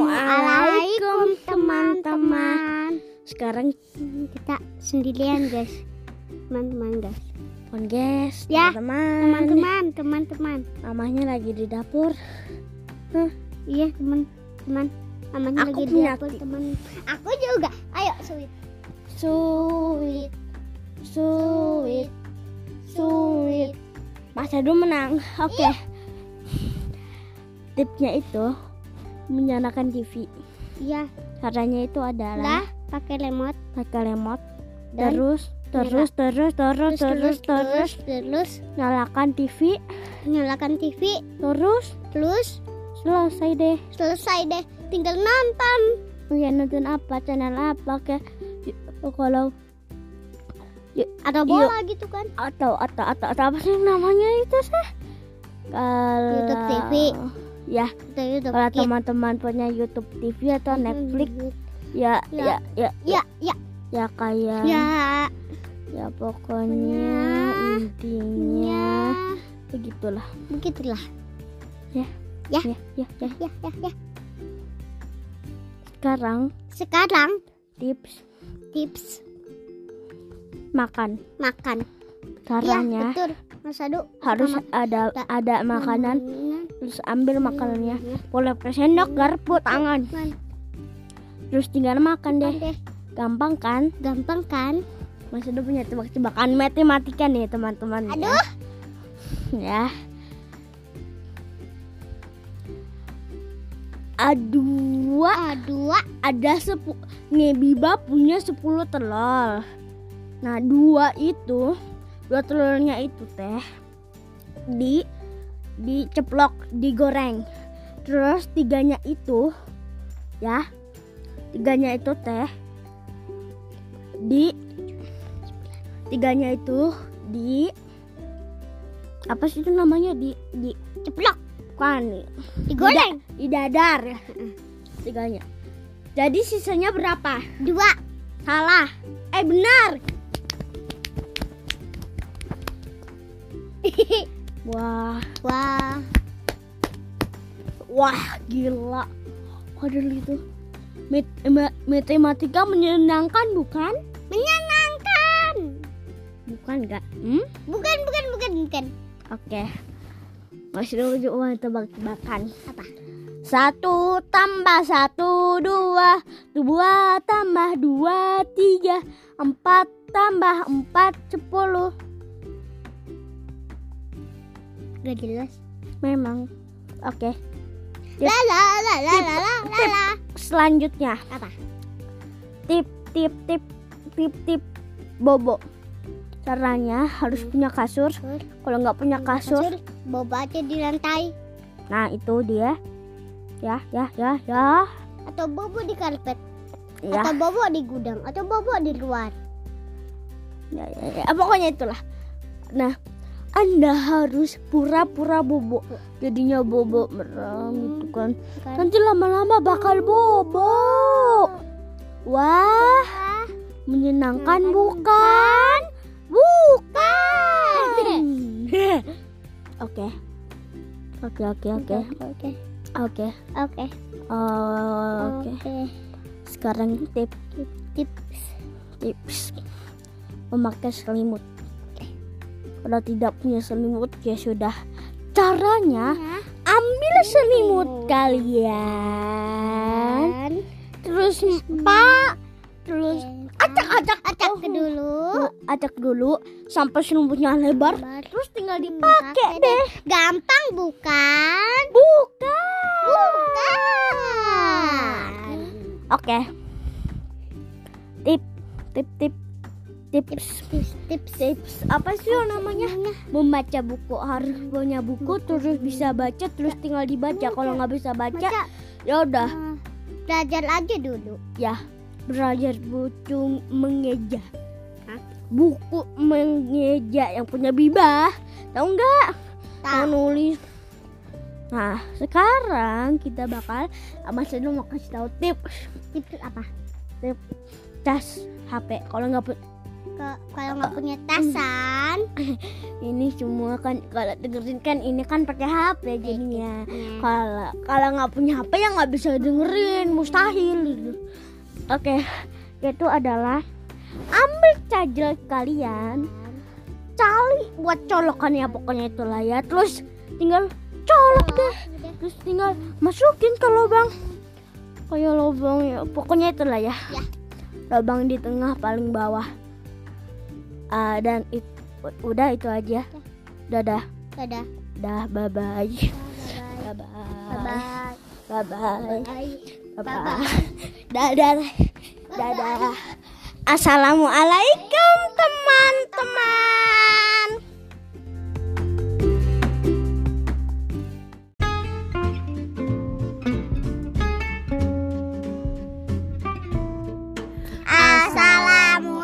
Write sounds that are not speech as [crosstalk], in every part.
Assalamualaikum teman-teman. Hmm, Sekarang Kita sendirian guys, teman-teman guys. Eh, pon guys, Ya, teman-teman. Teman-teman, teman-teman. Mamahnya lagi di dapur. Iya teman-teman. Aman Aku lagi di punya dapur ti- teman. Aku juga. Ayo sulit. Sulit, sulit, sulit. Mas Edu menang. Oke. Tipsnya itu menyalakan TV. Iya. Caranya itu adalah Lah pakai remote. pakai remote Dan terus terus terus terus terus terus terus nyalakan TV nyalakan TV terus terus selesai deh. selesai deh tinggal nonton ya nonton apa channel apa ke y- kalau Iya. ada bola gitu kan atau atau atau, atau apa sih namanya itu sih kalau YouTube TV. ya Kita YouTube kalau Kids. teman-teman punya YouTube TV atau Netflix ya ya ya Ya. ya ya ya kayak ya, ya pokoknya Punya. intinya ya begitulah begitulah ya ya ya ya ya ya sekarang sekarang tips tips makan makan ya caranya betul Mas Adu harus Makan. ada Tak- ada makanan terus ambil makanannya Ya, boleh pakai sendok garpu tangan Man, terus tinggal makan deh deh gampang kan gampang kan Mas Edo punya tebak-tebakan matematika nih teman-teman ya. Aduh. ya Aduh, A Ah, dua ada sepu nih Biba punya 10 telur. Nah, dua itu dua telurnya itu teh di diceplok, digoreng. Terus tiganya itu ya. Tiganya itu teh di tiganya itu di apa sih itu namanya di di ceplok bukan digoreng di dadar tiganya jadi sisanya berapa dua salah eh benar [laughs] wah wah wah gila waduh itu Mat- ma- matematika menyenangkan bukan menyenangkan bukan enggak hmm? bukan bukan bukan bukan oke masih dulu cuma tebak-tebakan apa Satu tambah satu dua Dua tambah dua tiga Empat tambah empat sepuluh gak jelas Memang Oke Tip. la la la la la la la la Selanjutnya apa Tip tip tip Tip tip Bobo Caranya harus punya kasur Kalau nggak Hmm. punya kasur boba aja di lantai Nah itu dia Ya ya ya ya atau bobo di karpet Ya, atau bobo di gudang atau bobo di luar ya, ya, ya. Pokoknya itulah Nah anda harus pura-pura bobo jadinya bobo merem gitu kan kan Nanti lama-lama bakal bobo. Wah, Ah, menyenangkan bukan? Bukan. [laughs] Oke. Oke, oke, oke. oke Oke. oke eh, Oke. oke Sekarang tip tips tips memakai selimut. Kalau tidak punya selimut ya sudah. Caranya ya. ambil selimut Oh. kalian. kan terus pak terus acak Oh. acak Eh. acak ke dulu acak dulu sampai selimutnya lebar terus tinggal dipakai deh gampang bukan bukan bukan oke tip tip tip tips tips tips tips apa sih namanya membaca buku harus punya buku terus bisa baca terus tinggal dibaca kalau nggak bisa baca baca ya udah eh, belajar aja dulu ya belajar buku mengeja buku mengeja yang punya bibah tahu nggak mau tahu nulis. Nah, sekarang kita bakal Mas Edo mau kasih tahu tips tips apa cas HP. Kalau nggak pu- Ke- Kalau nggak punya tasan, ini semua kan kalau dengerin kan ini kan pakai HP jadinya Ya. kalau kalau nggak punya HP ya nggak bisa dengerin mustahil oke itu adalah ambil charger kalian cari buat colokannya pokoknya itulah ya terus tinggal colok deh udah. terus tinggal masukin ke lubang kayak lubang ya pokoknya itulah ya, Ya. lubang di tengah paling bawah Ah, dan it- udah itu aja dadah Dadah. dah bye bye bye Bye bye bye. bye bye Bye. bye bye dadah dadah assalamualaikum teman-teman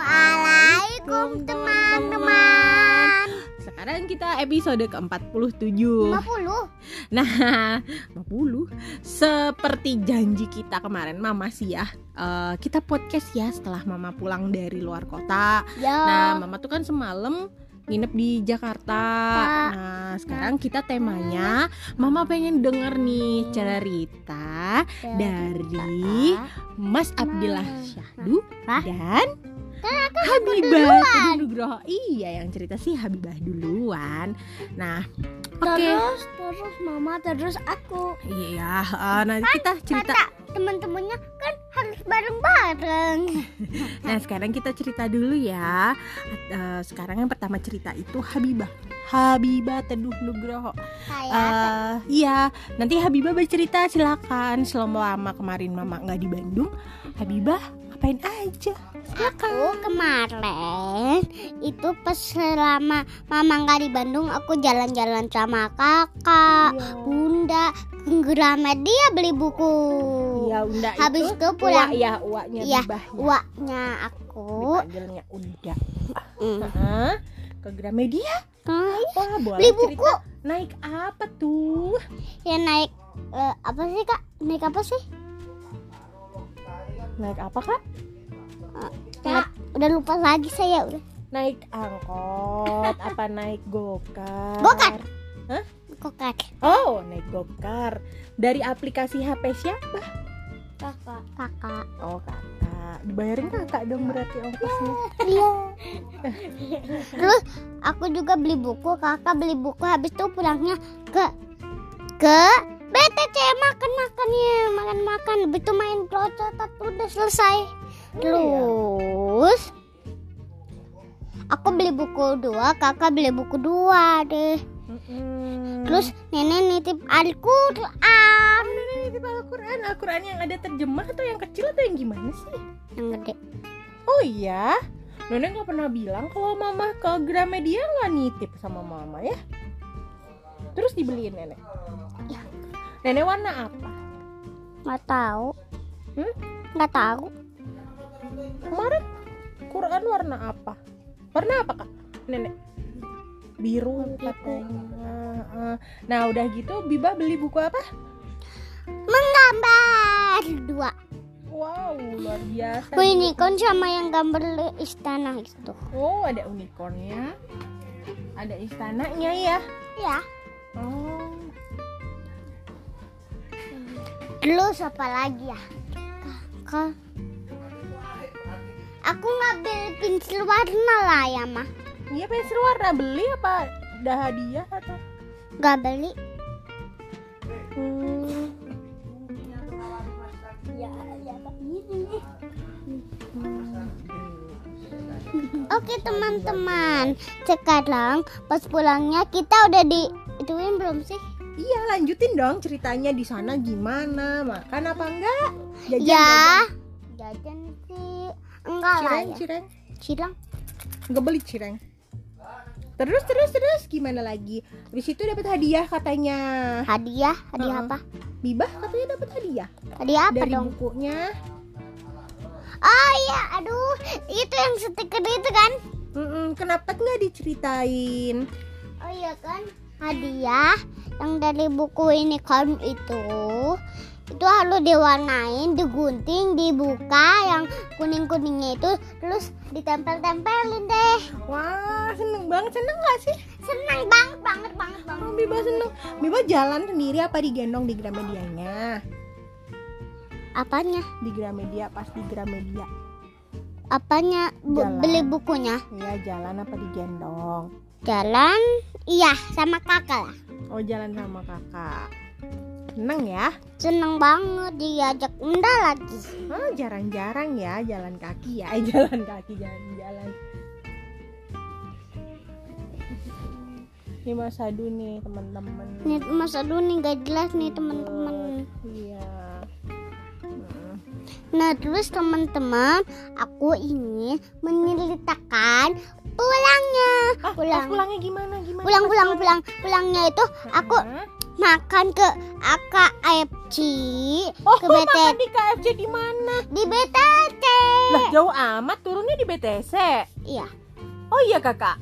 Assalamualaikum teman-teman. Sekarang kita episode ke-47 [laughs] 50. Nah, 50 Seperti janji kita kemarin Mama sih ya eh, Kita podcast ya setelah Mama pulang dari luar kota ya Oh. Nah, Mama tuh kan semalam nginep di Jakarta Pak. Nah, sekarang kita temanya Mama pengen denger nih cerita dari Mas Abdillah Nah. Syahdu Hah? dan Habibah Tadi Nugroho iya yang cerita sih Habibah duluan nah oke terus terus mama terus aku iya ya eh, nanti kita cerita Kata teman-temannya kan harus bareng-bareng. nah sekarang kita cerita dulu ya Eh, sekarang yang pertama cerita itu Habibah Habibah Teduh Nugroho Kayak Eh, iya, nanti Habibah bercerita silakan. Selama lama kemarin Mama nggak di Bandung, Habibah ngapain aja? aku kemarin itu pas selama mama nggak di Bandung aku jalan-jalan sama kakak, bunda, ke dia beli buku. Iya, Unda Habis itu itu pulang Uwa, ya, uaknya Iya, Habibahnya. uaknya aku dipanggilnya Unda. Oh. Mm. Heeh. Ke Gramedia. Hah? Wah, boleh beli cerita buku naik apa tuh? ya naik eh, apa sih kak naik apa sih Naik apa, Kak? Naik- udah lupa lagi saya udah Naik angkot, apa naik gokar? Gokar. Hah? kokak Oh, naik gokar. Dari aplikasi HP siapa? kakak kakak Oh, Kakak. Dibayarin Kakak dong berarti ongkosnya. iya terus aku juga beli buku kakak beli buku habis itu pulangnya ke ke BTC makan makannya makan makan habis itu main klocotan udah selesai Oh, Ya, Iya. terus aku beli buku dua kakak beli buku dua deh Mm-mm. terus nenek nitip Al-Quran Ini Al-Quran, Al-Quran yang ada terjemah atau yang kecil atau yang gimana sih? yang gede Oh iya, Nenek nggak pernah bilang kalau Mama ke Gramedia nggak nitip sama Mama ya. Terus dibeliin Nenek. Ya. Nenek warna apa? nggak tahu Hmm? nggak tahu Kemarin Quran warna apa? Warna apa kak? Nenek. Biru katanya. Eh, Nah udah gitu Biba beli buku apa? menggambar dua Wow luar biasa. unicorn sama yang gambar istana itu Oh ada unicornnya, ada istananya ya. ya Oh. terus apa lagi ya kakak aku ngambil pensil warna lah ya mah Iya pensil warna beli apa ada hadiah atau? nggak beli Ya, oke teman-teman sekarang pas pulangnya kita udah di ituin belum sih Iya lanjutin dong ceritanya di sana gimana makan apa enggak? Jajan, ya jajan sih enggak jajan. lah Cireng ya cireng silang nggak beli cireng. Terus terus terus gimana lagi? Habis itu dapat hadiah katanya. hadiah hadiah Heeh. apa Bibah katanya dapat hadiah hadiah apa dari dong bukunya. oh iya aduh itu yang stiker itu kan Mm-mm, kenapa nggak diceritain? oh iya kan hadiah yang dari buku unicorn itu kan itu harus diwarnain, digunting, dibuka yang kuning-kuningnya itu terus ditempel-tempelin deh. Wah, seneng banget. Seneng gak sih? Senang banget banget banget banget. Oh, Biba seneng. Biba jalan sendiri apa digendong di Gramedianya? Apanya? Di Gramedia, pas di Gramedia. Apanya? Bu- Jalan. beli bukunya. Iya, jalan apa digendong? Jalan iya sama kakak lah. Oh, jalan sama kakak. Seneng ya? Seneng banget diajak Bunda lagi. Oh, jarang-jarang ya jalan kaki ya. Eh, Jalan kaki, jalan-jalan. Ini Mas Adu nih, teman-teman. Nih Mas Adu nih gak jelas nih teman-teman. Iya. Hmm. Nah terus teman-teman aku ingin menceritakan pulangnya. Ah, Pulang. pas pulangnya gimana? Gimana? Pulang pas pulang pulang pulangnya itu aku Hah? makan ke AKFC Oh, ke BT makan di KFC di mana? di BTC. Lah, jauh amat turunnya di BTC. Iya. Oh iya, Kakak.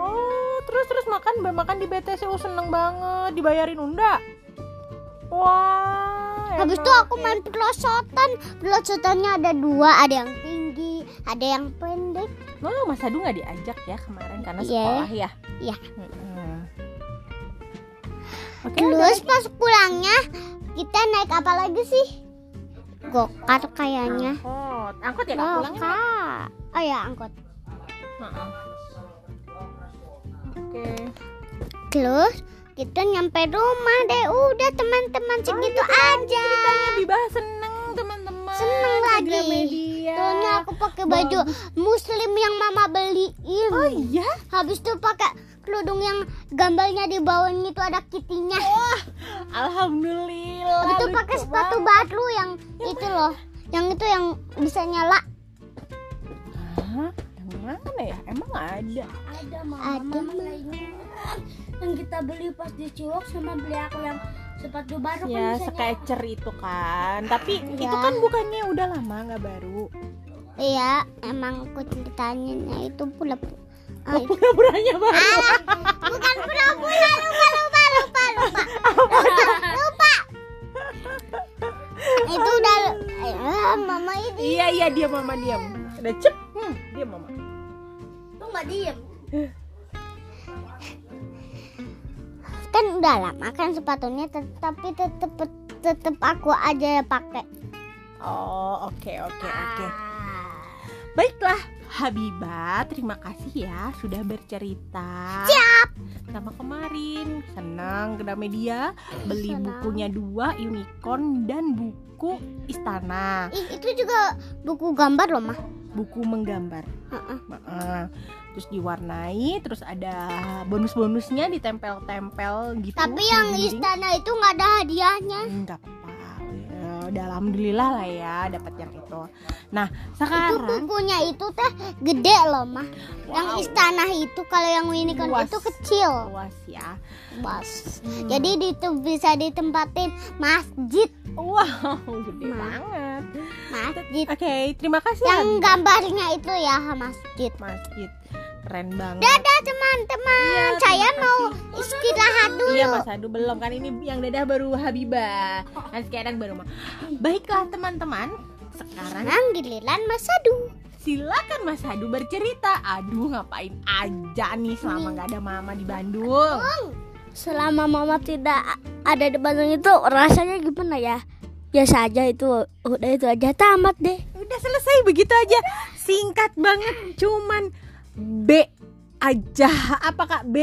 Oh, terus terus makan makan di BTC. Oh, seneng banget dibayarin Unda. Wah. Habis enak itu aku ya. main pelosotan. Pelosotannya ada dua, ada yang tinggi, ada yang pendek. Lo Mas Adu nggak diajak ya kemarin karena Iya. sekolah ya? Iya. Mm-mm. Oke, udah. Terus pas pulangnya kita naik apa lagi sih? Gokar kayaknya. angkot, angkot ya Kak pulangnya. Gokar. Oh ya angkot. Heeh. Oke. Terus kita nyampe rumah deh. Udah teman-teman segitu aja. Biba seneng teman-teman. Seneng Di lagi. Gramedia. Soalnya aku pakai baju muslim yang mama beliin. Oh iya, Habis itu pakai kerudung yang gambarnya di bawahnya itu ada kitinya. alhamdulillah. Habis itu Oh, lucu pakai sepatu banget. baru yang itu loh. Yang itu yang bisa nyala. Hah? Yang mana ya? Emang ada. ada mama Ada, mama lainnya yang kita beli pas di Ciwok sama beli aku yang sepatu baru Ya, kan bisa nyala. sketcher itu kan. Tapi Iya. itu kan bukannya udah lama nggak baru. Iya, emang aku ceritanya itu pula. Ah, Oh, iya. itu- Pura-puranya baru. Bukan pura-pura lupa lupa lupa lupa. Lupa. Itu udah eh, mama ini. Iya iya dia mama diam. Udah cep. Hmm, dia mama. Lu nggak diem kan udah lama kan sepatunya tet- tapi tetep tetep aku aja yang pakai Oh, oke oke oke. Ah. Baiklah, Habiba, terima kasih ya sudah bercerita. Siap. Sama kemarin, senang Gramedia beli Senang. bukunya dua unicorn dan buku istana, Ih, itu juga buku gambar loh mah buku menggambar. Heeh. Terus diwarnai, terus ada bonus-bonusnya ditempel-tempel gitu. tapi yang di dinding. istana itu nggak ada hadiahnya Nggak apa-apa. Ya, udah alhamdulillah lah ya dapat yang itu. Nah, itu sekarang bukunya itu teh gede loh mah yang Wow. istana itu kalau yang unicorn Luas. itu kecil Awas ya. bos Hmm. jadi itu bisa ditempatin masjid Wow, gede Ma. banget. masjid Oke, terima kasih Nah. yang Abi. gambarnya itu ya masjid masjid keren banget. dadah teman-teman saya mau istirahat dulu Iya Mas Adu belum kan ini yang dadah baru Habibah. Kan sekarang baru mah. Baiklah teman-teman, sekarang Sekarang giliran Mas Adu. silakan Mas Adu bercerita. Aduh ngapain aja nih selama nggak ada mama di Bandung. selama mama tidak ada di Bandung itu rasanya gimana ya biasa aja itu udah itu aja tamat deh Udah selesai begitu aja. Singkat banget cuman B aja. Apa Kak B?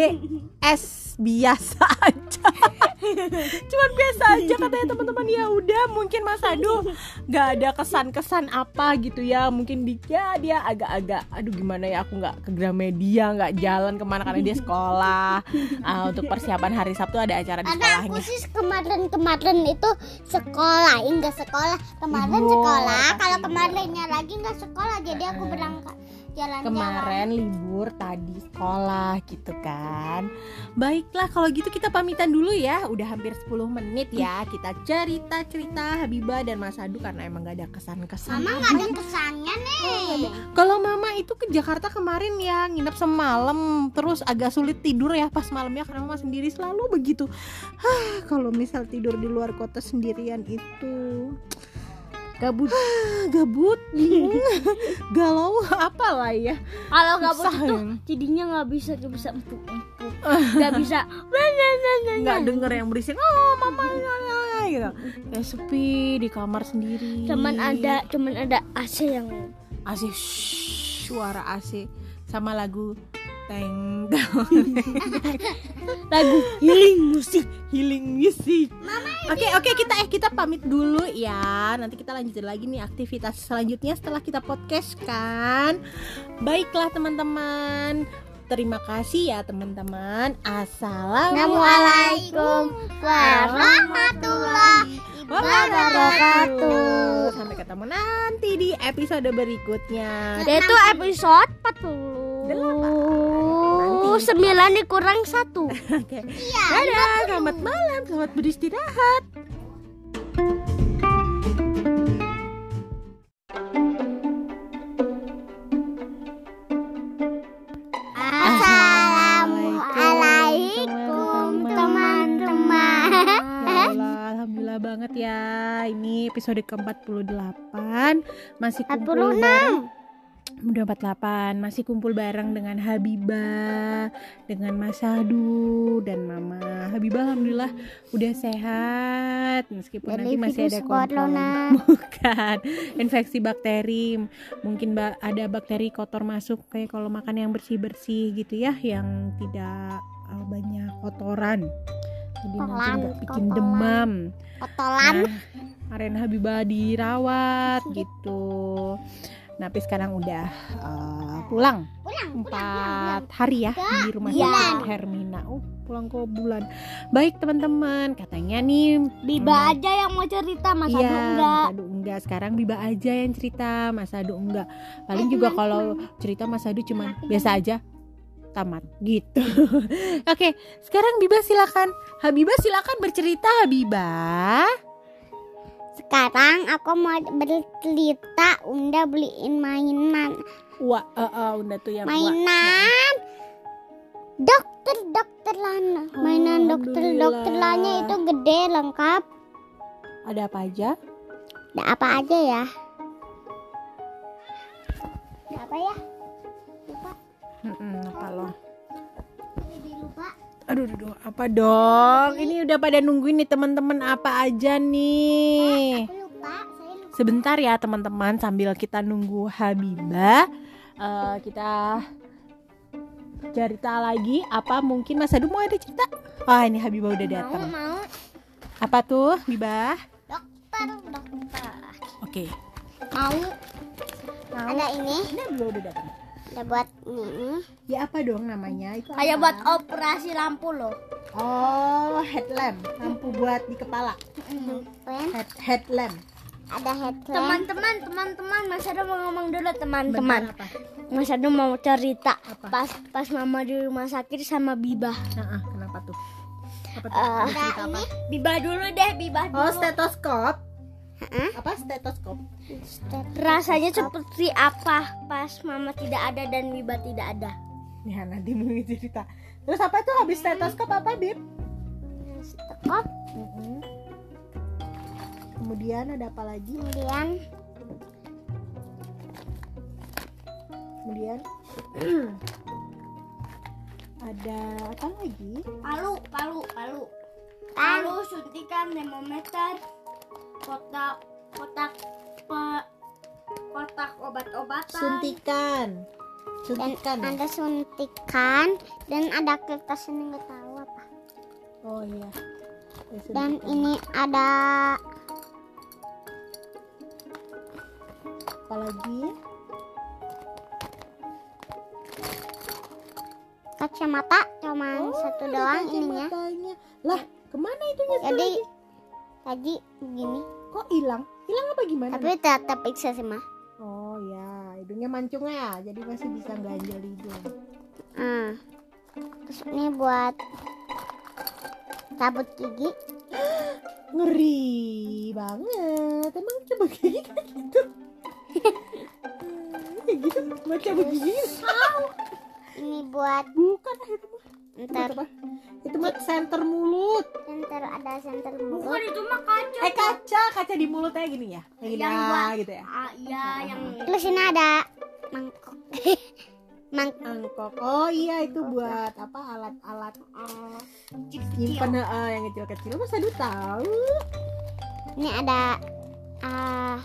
S biasa aja. [laughs] cuman biasa aja katanya teman-teman ya udah mungkin Mas Adu nggak ada kesan-kesan apa gitu ya. Mungkin di- ya dia agak-agak aduh gimana ya aku nggak ke Gramedia, nggak jalan kemana karena dia sekolah. Ah, untuk persiapan hari Sabtu ada acara di Karena aku sekolahnya. sih kemarin-kemarin itu sekolah, eh, enggak sekolah. Kemarin Libur, sekolah, pasti kalau libur. kemarinnya lagi enggak sekolah, jadi aku berangkat jalan-jalan kemarin libur tadi sekolah gitu kan Baiklah kalau gitu kita pamitan dulu ya Udah hampir 10 menit ya Kita cerita-cerita Habiba dan Mas Adu Karena emang gak ada kesan-kesan mama nggak ada kesannya nih Kalau Mama itu ke Jakarta kemarin ya Nginep semalam Terus agak sulit tidur ya pas malamnya Karena Mama sendiri selalu begitu Hah, Kalau misal tidur di luar kota sendirian itu gabut [sighs] [laughs] Gabut, bingung, galau apalah ya kalau gabut Susah itu ya. jadinya nggak bisa nggak bisa empuk [laughs] empuk nggak bisa "Wah, nah, nah, nah, nggak nah." denger yang berisik oh mama ya, ya, ya," gitu kayak sepi di kamar sendiri cuman ada cuman ada AC yang AC shhh, suara AC sama lagu [laughs] teng lagu healing musik healing music oke oke kita eh kita pamit dulu ya nanti kita lanjutin lagi nih aktivitas selanjutnya setelah kita podcast kan baiklah teman-teman terima kasih ya teman-teman assalamualaikum Assalamualaikum warahmatullahi wabarakatuh. Sampai ketemu nanti di episode berikutnya. itu episode 40 sembilan dikurang satu Oke. Dadah, selamat malam, selamat beristirahat. Assalamualaikum teman-teman. Ya Allah, alhamdulillah banget ya. Ini episode ke-48 masih kumpul 46. bareng. Udah 48 masih kumpul bareng dengan Habiba, dengan Mas Hadu dan Mama. Habibah alhamdulillah udah sehat meskipun Dari nanti masih ada virus corona. kompon. [laughs] Bukan infeksi bakteri. Mungkin ba- ada bakteri kotor masuk kayak kalau makan yang bersih-bersih gitu ya yang tidak uh, banyak kotoran. Jadi nanti Kotoran, tidak bikin kotoran. demam. Kotolan. Aren Habibah [laughs] dirawat gitu. Napi sekarang udah uh, pulang Pulang, pulang, pulang. empat hari ya di rumah Bulan. sakit Hermina. Oh, pulang ke bulan. Baik teman-teman, katanya nih Biba aja yang mau cerita Mas Adu Iya, enggak Mas Adu enggak. Sekarang Biba aja yang cerita, Mas Adu enggak. Paling Eh, juga cuman- kalau cerita Mas Adu cuman Cuman- biasa aja tamat gitu. [laughs] Oke, sekarang Biba silakan. Habibah silakan bercerita Habibah. Sekarang aku mau bercerita Unda beliin mainan. Wah, eh, eh, udah tuh yang wah. Mainan dokter dokter lana. Mainan dokter dokter lana itu gede lengkap. Ada apa aja? Ada apa aja ya? Ada apa ya? Lupa. Mm-mm, apa lo? Jadi lupa. Aduh, aduh, aduh, apa dong? Ini udah pada nungguin nih teman-teman apa aja nih. Aku lupa. Saya lupa. Sebentar ya teman-teman sambil kita nunggu Habibah eh, kita cerita lagi apa mungkin Mas Adu mau ada cerita? Wah ini Habibah udah datang. mau. Apa tuh Habibah? Dokter dokter. Oke. Mau. Ada ini. Ini Habibah udah datang. Ada buat ini. Ya apa dong namanya? Itu kayak apa? buat operasi lampu loh Oh headlamp lampu buat di kepala Pen. head headlamp. Ada headlamp. teman-teman teman-teman Mas Adu mau ngomong dulu teman-teman Bentar apa? Mas Adu mau cerita Apa? pas pas mama di rumah sakit sama Biba Nah, ah, kenapa tuh? Apa tuh? Eh, Cerita apa? ini Biba dulu deh Biba Oh dulu stetoskop. Apa stetoskop? rasanya seperti apa pas mama tidak ada dan Biba tidak ada Ya [laughs] nanti mungkin cerita. Terus apa tuh habis stetoskop apa Bib? stetoskop Kemudian ada apa lagi? kemudian Kemudian [clears throat] ada apa lagi? palu palu palu Palu, suntikan termometer kotak kotak kotak obat-obatan Suntikan. dan Suntikan. ya? ada suntikan dan ada kertas ini nggak tahu apa Oh iya. Ya, dan suntikan. ini ada apa lagi? kacamata cuman satu Oh, ada doang ininya Iya. kacamatanya. Lah, kemana itunya? satu jadi lagi? tadi begini kok hilang? Hilang apa gimana? tapi tetap iksa sih mah Oh ya, itu hidungnya mancung ya jadi masih bisa ganjel hidung Ah. Terus ini buat sabut gigi. ngeri banget emang coba gigi kayak gitu kayak gitu buat cabut gigi Ini buat bukan ah, itu mah ntar apa itu mah center mulut ntar ada senter bukan mulut. itu mah kan kaca eh kaca kaca di mulutnya gini ya kayak gini Yang ah, buat- gitu ya ah, iya yang Hmm. Terus ini ada mangkok. [laughs] mangkok. angkok oh iya itu buat apa alat-alat eh, nyimpen eh, yang kecil-kecil masa lu tahu Ini ada ah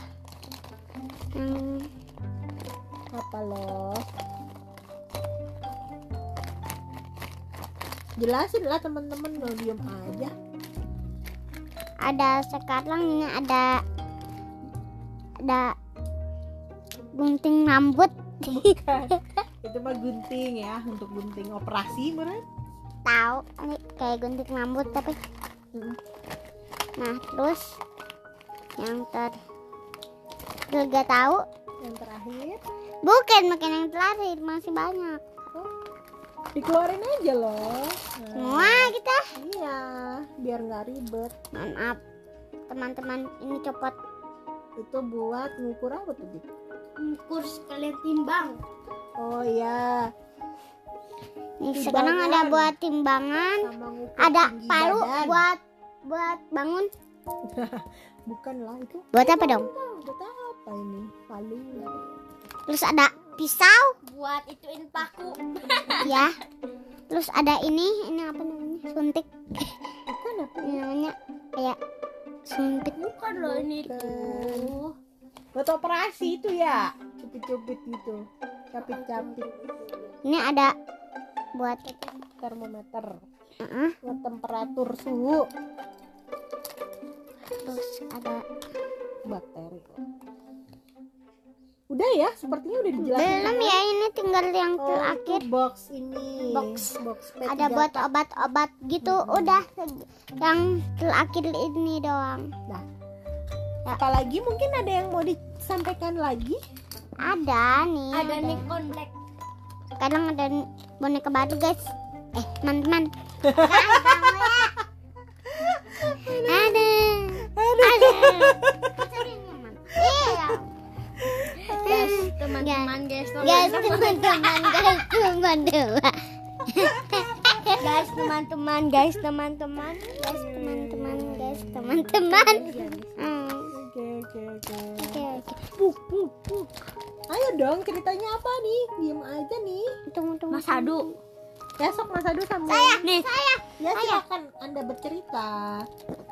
hmm, yang apa loh jelasin lah teman-teman lo diem aja ada sekarang ini ada ada gunting rambut [laughs] itu mah gunting ya untuk gunting operasi bener tahu ini kayak gunting rambut tapi Hmm. Mm. nah terus yang ter gak tahu yang terakhir bukan makin yang terakhir masih banyak dikeluarin aja loh Nah, semua kita iya biar nggak ribet mohon maaf teman-teman ini copot itu buat ngukur apa tuh Bib? ukur sekalian timbang oh iya ini sekarang ada Timbangan. buat timbangan sama ngukur ada tinggi palu badan. buat buat bangun bukan lah itu buat apa dong ah, buat apa ini palu terus ada pisau buat ituin paku ya terus ada ini ini apa namanya suntik bukan apa Ini namanya kayak suntik bukan loh ini Bukan. tuh buat operasi itu ya cubit-cubit gitu capit-capit gitu. ini ada buat termometer Heeh. buat temperatur suhu terus ada bakteri udah ya sepertinya udah dijelasin belum ya ini tinggal yang Oh, itu terakhir box ini Box. box P3. ada buat obat-obat gitu udah seg- yang terakhir ini doang apalagi mungkin ada yang mau disampaikan lagi ada nih ada Nikon Black kadang ada n- boneka baru guys eh teman-teman ada ada Iya. guys teman-teman guys guys teman-teman guys teman-teman guys teman-teman guys teman-teman guys teman-teman guys teman-teman Hmm, oke oke oke oke oke Puh, puh, puh. ayo dong ceritanya apa nih diem aja nih tunggu tunggu Mas Adu besok Mas Adu sama nih ya silakan anda bercerita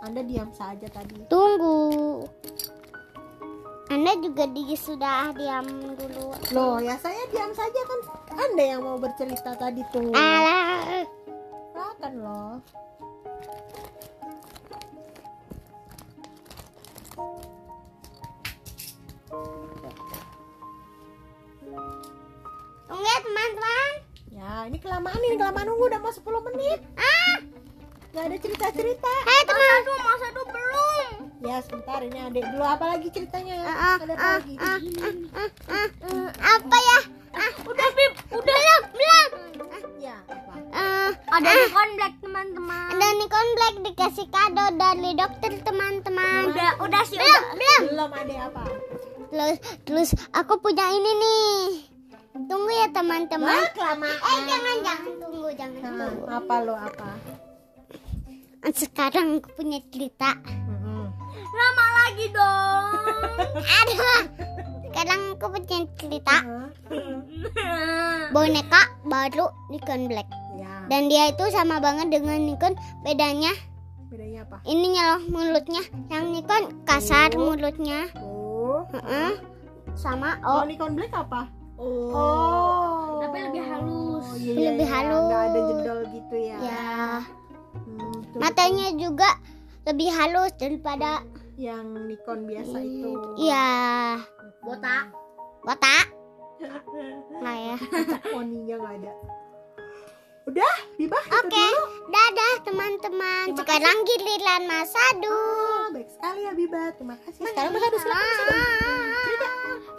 anda diam saja tadi tunggu anda juga di sudah diam dulu loh ya saya diam saja kan anda yang mau bercerita tadi tuh Iya. Alah. silakan loh tunggu ya teman-teman ya ini kelamaan ini kelamaan nunggu udah mau 10 menit ah nggak ada cerita cerita Hai teman Mas Adu, Mas Adu belum. ya sebentar ini adek dulu apa lagi ceritanya Ah, ada apa ah, lagi ah, ah, ah, ah. Apa ya? Ah, udah Bib, udah. Belum, belum. ya apa Ah, ada Nikon Black teman-teman ada Nikon Black dikasih kado dari dokter teman-teman. udah udah sih Belum, belum. belum ada apa Terus, terus aku punya ini nih. Tunggu ya teman-teman. Wah, kelamaan Eh gitu. jangan jangan tunggu jangan Nah, tunggu. apa lo apa Sekarang aku punya cerita. lama lagi dong [laughs] Aduh. Sekarang aku punya cerita Hah? boneka baru Nikon Black. ya dan dia itu sama banget dengan Nikon bedanya bedanya apa ininya loh mulutnya yang Nikon kasar Oh. mulutnya oh Heeh. sama oh oh Nikon Black apa oh. oh tapi lebih halus Oh, iya, Lebih iya, iya. nggak ada halus. jendol gitu ya ya Hmm, itu matanya juga lebih halus daripada yang Nikon biasa itu iya botak botak nah ya poninya nggak ada udah tiba oke dadah teman-teman sekarang giliran Mas Adu ya, Ah, baik sekali Habibah terima kasih sekarang Mas Adu silakan Mas Adu. Dadah.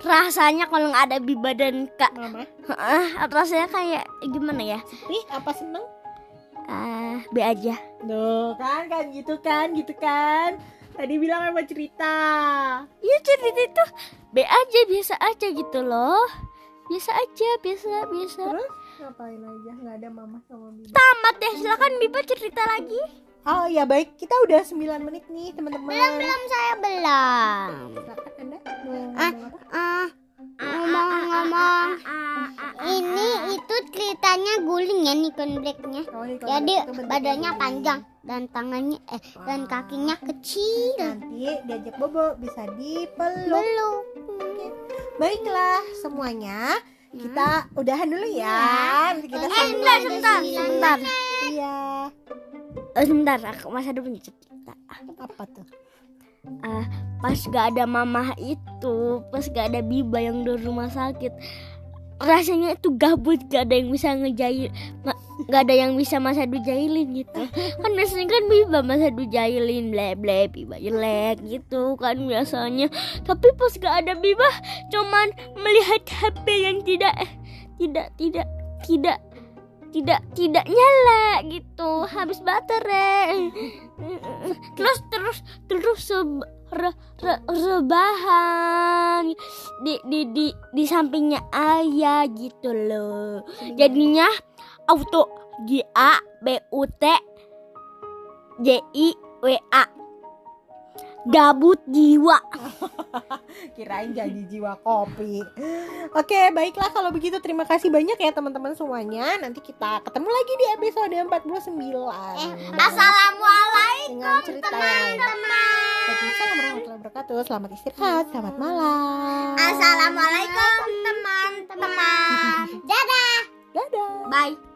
rasanya kalau nggak ada biba dan kak Mama, Heeh, rasanya kayak gimana ya sedih apa seneng? ah B aja Tuh kan kan gitu kan gitu kan. Tadi bilang apa cerita? ya cerita itu B aja biasa aja gitu loh biasa aja biasa biasa Terus ngapain aja nggak ada mama sama bibi. tamat ya silakan Biba cerita lagi Oh ya baik kita udah 9 menit nih teman-teman. Belum belum. saya belum Anda mau ngomong apa? ah ngomong-ngomong ini itu ceritanya guling ya Nikon Blacknya Oh, ini kalau jadi itu bentuknya badannya gini. panjang dan tangannya eh dan kakinya kecil Nanti diajak bobo bisa dipeluk. belum Baiklah semuanya kita udahan dulu ya. Nanti kita Eh, sambung bentar, lagi. bentar, bentar. Iya. Eh, sebentar aku masih ada punya cerita Apa tuh? Ah, pas gak ada mamah itu pas gak ada Biba yang di rumah sakit rasanya itu gabut gak ada yang bisa ngejail ma- gak ada yang bisa masa dujailin gitu kan biasanya kan Biba masa dujailin ble ble Biba jelek gitu kan biasanya tapi pas gak ada Biba cuman melihat HP yang tidak tidak tidak tidak tidak tidak nyala gitu habis baterai terus terus terus seb- re- re- rebahan di, di di di sampingnya ayah gitu loh jadinya auto G A B U T J I W A gabut jiwa [laughs] Kirain jadi jiwa kopi. Oke, baiklah kalau begitu terima kasih banyak ya teman-teman semuanya. Nanti kita ketemu lagi di episode 49. eh assalamualaikum dengan cerita yang lain. teman Waalaikumsalam warahmatullahi wabarakatuh. Selamat istirahat, selamat malam. assalamualaikum teman-teman dadah Dadah. bye